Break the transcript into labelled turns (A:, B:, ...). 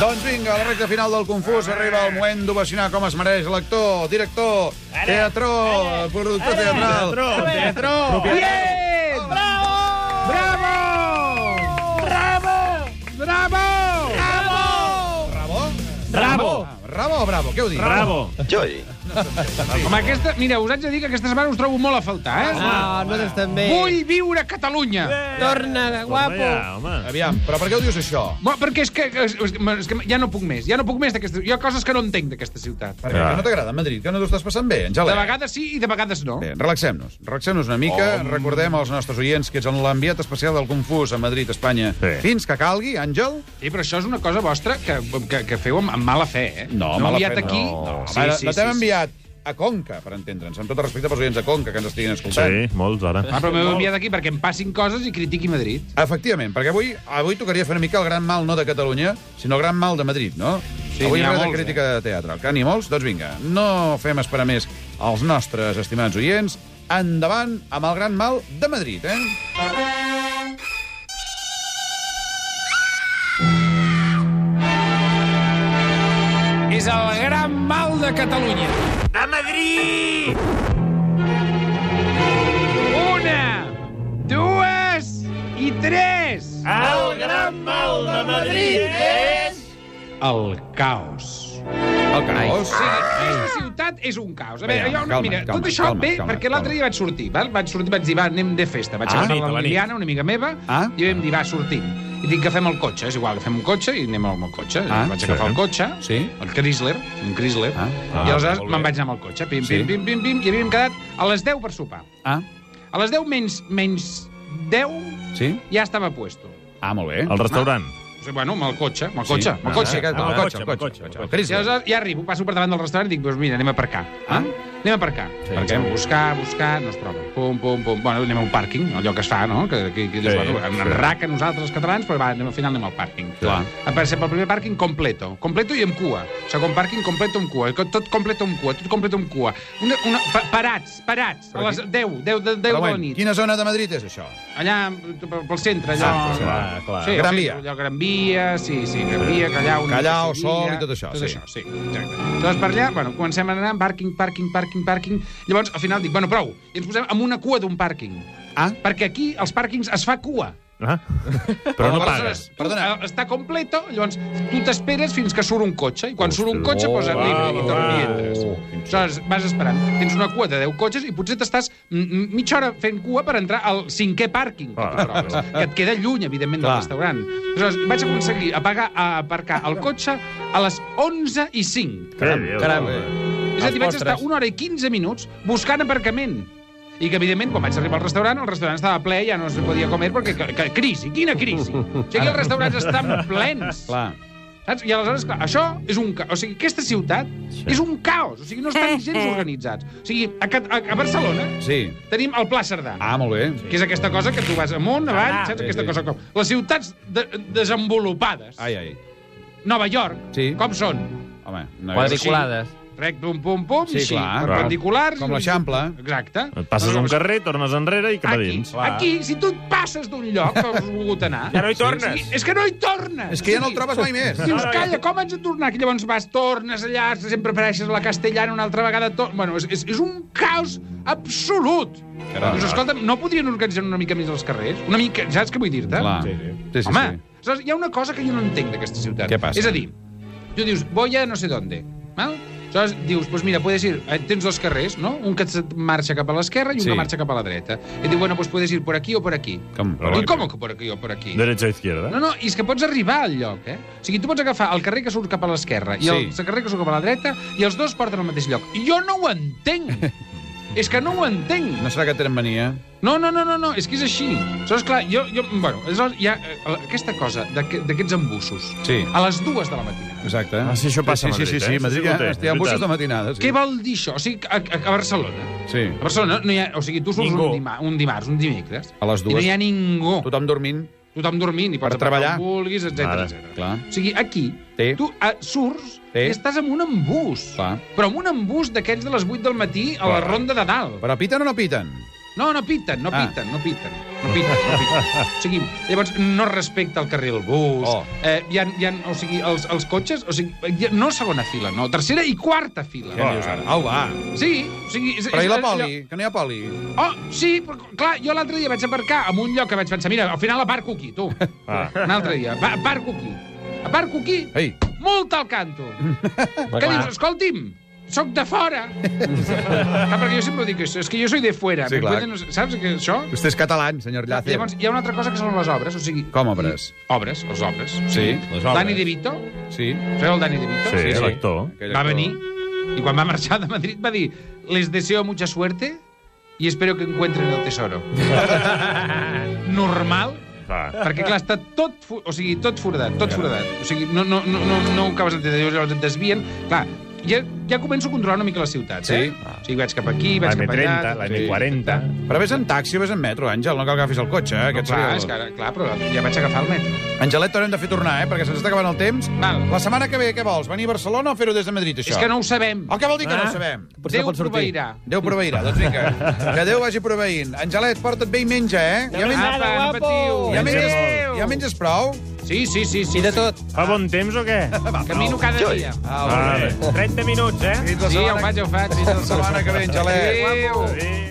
A: Doncs recte final del Confús arriba el moment d'ovacionar com es mereix l'actor, director,
B: Ara.
A: teatró, productor
B: Ara.
A: teatral.
B: Teatró,
A: Ara.
B: teatró.
A: Propietat.
C: Bien!
B: Bravo! Bravo!
C: Bravo!
A: Bravo?
B: Bravo!
A: Ah, Bravo o bravo? Què ho dic?
B: Bravo!
C: Home, aquesta, mireu, us haig de dir que aquesta setmana us trobo molt a faltar, eh?
D: Ah, nosaltres també.
C: Vull viure a Catalunya!
D: Torna,
B: Guapo!
D: guapo.
B: home.
A: Aviam, però per què ho dius això?
C: Bueno, perquè és que, és, és, que- és que ja no puc més, ja no puc més d'aquesta... Hi ha coses que no entenc d'aquesta ciutat.
A: Perquè
B: Ah.
A: que no t'agrada Madrid, que no t'ho estàs passant bé,
C: De
A: Angelet.
C: vegades sí i de vegades no.
A: Bé, relaxem-nos, relaxem-nos una mica. Recordem als nostres oients que ets en l'enviat especial del Confús a Madrid, Espanya.
B: Sí.
A: Fins que calgui, Àngel.
C: Sí, però això és una cosa vostra que, que, que feu amb, amb mala fe, eh? no enviat aquí...
A: No, sí, sí, la t'hem enviat a Conca, per entendre'ns, amb tot el respecte pels oients de Conca que ens estiguin escoltant.
B: Sí, molts, ara.
C: Ah, però m'heu enviat aquí perquè em passin coses i critiqui Madrid.
A: Efectivament, perquè avui avui tocaria fer una mica el gran mal no de Catalunya, sinó el gran mal de Madrid, no?
C: Sí,
A: avui
C: n'hi ha
A: res de
C: molts, eh.
A: crítica de teatre. Que n'hi ha molts? Doncs vinga, no fem esperar més als nostres estimats oients. Endavant amb el gran mal de Madrid, eh?
C: És el gran mal de Catalunya.
B: A Madrid!
C: Una, dues i tres.
B: El gran mal de Madrid és...
C: El caos.
A: El caos.
C: O sigui, aquesta ciutat és un caos. A veure,
A: Vinga,
C: jo,
A: calma,
C: mira,
A: calma,
C: tot això
A: calma,
C: ve
A: calma,
C: perquè l'altre
A: calma.
C: dia vaig sortir, val? vaig sortir, vaig dir, va, anem de festa. Vaig
B: Ah,
C: agafar
B: nit, a
C: la
B: la nit.
C: Liliana, una amiga meva,
A: Ah.
C: i vam dir, va, sortim. I dic, agafem el cotxe, és igual, agafem un cotxe i anem amb el cotxe.
A: Ah,
C: vaig
B: sí.
C: agafar el cotxe,
A: Sí.
C: el Chrysler, un Chrysler,
A: Ah.
B: Ah,
C: i aleshores
B: molt bé.
C: me'n vaig anar amb el cotxe, pim,
A: Sí.
C: pim, pim, pim, pim, i havíem quedat a les 10 per sopar.
A: Ah,
C: A les 10 menys, menys 10
A: sí?
C: ja estava puesto.
A: Ah, molt bé.
B: El restaurant.
C: O sigui, bueno, amb el cotxe, amb el cotxe, amb el
B: Ah,
C: cotxe.
B: ah,
A: amb el cotxe, amb el cotxe.
B: amb el
A: amb el
C: I
A: Chrysler.
C: aleshores ja arribo, passo per davant del restaurant i dic, doncs mira, anem a aparcar.
A: Ah.
C: Ah? Anem a aparcar.
A: Sí.
C: Sí, Perquè buscar, buscar, no es troba. Pum, pum, pum. Bueno, anem a un pàrquing, allò que es fa, no? Que, que, que
B: Sí,
C: sí, bueno,
B: sí.
C: en raca nosaltres els catalans, però va, anem, al final anem al pàrquing.
A: Clar.
C: Apareixem pel primer pàrquing completo. Completo i amb cua. Segon pàrquing completo amb cua. Tot completo amb cua, tot completo amb cua. Una, una, pa, parats, parats.
A: Però
C: A les
A: qui-
C: 10, 10, 10, 10 de
A: Però,
C: la
A: bueno,
C: nit.
A: quina zona de Madrid és això?
C: Allà, pel centre, allò...
A: Ah,
B: clar, clar.
C: Sí,
A: Gran
C: sí,
A: Via.
C: Allò, Gran Via, sí, sí, Gran Via, Callau... una
A: Callao,
C: mica Sevilla,
A: Sol i tot això,
C: Tot
A: sí.
C: això, sí, exacte. Aleshores, per allà, bueno, comencem a anar, pàrquing, pàrquing, pàrquing, pàrquing... Llavors, al final dic, bueno, prou, i ens posem en una cua d'un pàrquing.
A: Ah.
C: Perquè aquí, als pàrquings, es fa cua.
B: Ah? Però no pagues.
C: Aleshores, tu,
A: Perdona.
C: eh, Està completo, llavors tu t'esperes fins que surt un cotxe, i quan
B: Hosti,
C: surt un cotxe,
B: oh,
C: doncs arriba i
B: va,
C: torna i
B: va.
C: entres. Aleshores, vas esperant. Tens una cua de 10 cotxes i potser t'estàs mm, mitja hora fent cua per entrar al cinquè pàrquing que, tu
B: Ah.
C: trobes, que et queda lluny, evidentment, del
A: Clar.
C: restaurant. Aleshores, vaig aconseguir apagar, a aparcar el cotxe a les 11 i 5.
B: Caram,
D: caram.
C: És a dir, vaig estar una hora i 15 minuts buscant aparcament. I que, evidentment, quan vaig arribar al restaurant, el restaurant estava ple, ja no es podia comer, perquè que, que, crisi, quina crisi. O sigui, els restaurants estan plens.
A: Clar.
C: Saps? I aleshores, clar, això és un caos. O sigui, aquesta ciutat
B: Sí.
C: és un caos. O sigui, no estan gens organitzats. O sigui, a, Cat- a, a Barcelona
A: Sí.
C: tenim el Pla Cerdà,
A: Ah, molt bé.
C: que és aquesta cosa que tu vas amunt, avall,
B: Ah,
C: saps?
A: sí,
C: aquesta
A: sí.
C: cosa com... Les ciutats de, desenvolupades,
A: Ai, ai.
C: Nova York,
A: Sí.
C: com són?
A: Home, una
D: Quadriculades.
C: Rec, pum, pum, pum,
A: Sí,
C: així,
A: clar.
C: perpendiculars...
A: Com l'Eixample.
C: Exacte.
B: Et passes un carrer, tornes enrere i cap a
C: Aquí,
B: dins.
C: aquí, si tu et passes d'un lloc que has volgut anar...
B: Ja no hi
C: Sí,
B: tornes.
C: sí, És que no hi tornes!
A: És que ja no el
C: Sí.
A: trobes mai més.
C: Dius,
B: Ara,
C: calla, com haig de tornar? Que llavors vas, tornes allà, sempre apareixes a la castellana una altra vegada... To... Bueno, és, és, és un caos absolut.
A: Caram.
C: Dius, escolta'm, no podrien organitzar una mica més els carrers? Una mica, saps què vull dir-te?
A: Clar.
B: Sí,
A: Sí,
B: sí.
A: sí. sí, sí.
C: Home, aleshores, hi ha una cosa que jo no entenc d'aquesta ciutat.
A: Què passa?
C: És a dir, tu dius, voy a no sé dónde, val? Aleshores, dius, doncs mira, puedes ir... eh, Tens dos carrers, no? Un que et marxa cap a l'esquerra i un
A: Sí.
C: que marxa cap a la dreta. I et diu, bueno, doncs puedes ir por aquí o por aquí.
A: Com?
B: Però
C: I com que por aquí o por aquí?
B: Derecha o izquierda.
C: No, no, i és que pots arribar al lloc, eh? O sigui, tu pots agafar el carrer que surt cap a l'esquerra i el
A: Sí.
C: carrer que surt cap a la dreta i els dos porten al mateix lloc. I jo no ho entenc! és que no ho entenc!
A: No serà que tenen mania?
C: No, no, no, no, no és que és així. Aleshores, clar, jo... jo bueno, aleshores hi ha eh, aquesta cosa d'aqu- d'aquests embussos.
A: Sí.
C: A les dues de la matinada.
A: Exacte.
B: Ah, sí, això passa a
A: sí, sí,
B: Madrid,
A: sí, sí,
B: eh?
A: Madrid,
B: Sí, sí, ho té,
A: ja, hi ha
B: és
A: bussos
B: veritat.
A: de matinada. Sí.
C: Què vol dir això? O sigui, a, a, a Barcelona...
A: Sí.
C: A Barcelona no hi ha... O sigui, tu surts
B: Ningú.
C: un, dima, un dimarts, un dimecres,
A: A les
C: i no
A: dues,
C: hi ha ningú.
A: tothom dormint.
C: Tothom dormint, i
A: Per
C: pots aparcar
A: treballar.
C: on vulguis,
B: Mare,
C: etcètera, etcètera.
A: Clar.
C: O sigui, aquí
A: Té.
C: tu eh, surts
A: Sí.
C: i estàs amb un embús.
A: Clar.
C: Però amb un embús d'aquests de les 8 del matí a la
A: Clar.
C: ronda de dalt.
A: Però piten o no piten?
C: No, no piten, no
A: Ah.
C: piten, no piten. No piten, no piten. O sigui, llavors, no respecta el carril bus.
A: Oh.
C: Eh, hi ha, hi ha, o sigui, els, els cotxes... O sigui, hi ha- no segona fila, no. Tercera i quarta fila.
A: Què dius ara? Au, va.
C: Sí, o sigui... és-
A: Però i la
C: és- és
A: poli? Que no hi ha poli?
C: allò- Oh, sí, però, clar, jo l'altre dia vaig aparcar en un lloc que vaig pensar, mira, al final aparco aquí, tu.
E: Ah.
C: Un altre dia, va, aparco aquí. Aparco aquí,
A: Ei,
C: multa al canto. Què
E: clar.
C: dius? Escolti'm, sóc de fora. ah, perquè jo sempre dic això, és que jo soy de fuera.
A: Sí,
C: me
A: clar.
C: pueden- Saps que això?
A: vostè és català, senyor Llàcer.
C: Llavors, hi ha una altra cosa que són les obres, o sigui...
A: Com obres?
C: Obres, les obres.
A: Sí,
B: Doncs
E: les obres.
C: Dani De Vito,
A: Sí.
C: sabeu el Dani De Vito?
E: Sí,
A: sí.
E: l'actor.
A: Aquell
C: Va
A: actor.
C: venir, i quan va marxar de Madrid va dir «Les deseo mucha suerte y espero que encuentren el tesoro». Normal,
E: Clar.
C: perquè clar, està tot, fu- o sigui, tot foradat, tot foradat. O sigui, no, no, no, no, no ho acabes d'entendre, llavors llavors et desvien. Clar, ja, ja començo a controlar una mica la ciutat,
A: Sí.
C: eh? O sigui, vaig cap aquí,
E: La
C: vaig cap allà...
E: M30, la M40...
A: Però vés en taxi, vés en metro, Àngel, no cal que agafis el cotxe, eh?
C: No,
A: Aquest
C: clar,
A: seria el-
C: és que, ara- clar, però ja vaig agafar el metro.
A: Angelet, t'haurem de fer tornar, eh? Perquè se'ns està acabant el temps.
C: Val.
A: La setmana que ve, què vols? Venir a Barcelona o fer-ho des de Madrid, això?
C: És que no ho sabem.
A: El que vol dir que no
E: Ah.
A: ho sabem?
D: Potser
C: Déu
D: pot sortir.
C: proveirà.
A: Déu proveirà, doncs vinga. Que Déu vagi proveint. Angelet, porta't bé i menja, eh? Ja, men
D: Apa,
C: Apa, no
D: guapo.
C: patiu.
A: ja,
E: Mengeu.
A: menges, ja menges prou?
C: Sí, sí, sí, sí.
D: I de tot.
E: Fa bon temps o què?
C: Camino cada dia.
A: Au,
E: Ah, 30 minuts, eh?
A: Fins la
C: Sí, ja ho
A: setmana, tota
C: faig, ja ho faig.
A: fins la setmana que ve, Angelet.
C: Adéu.
E: Adéu.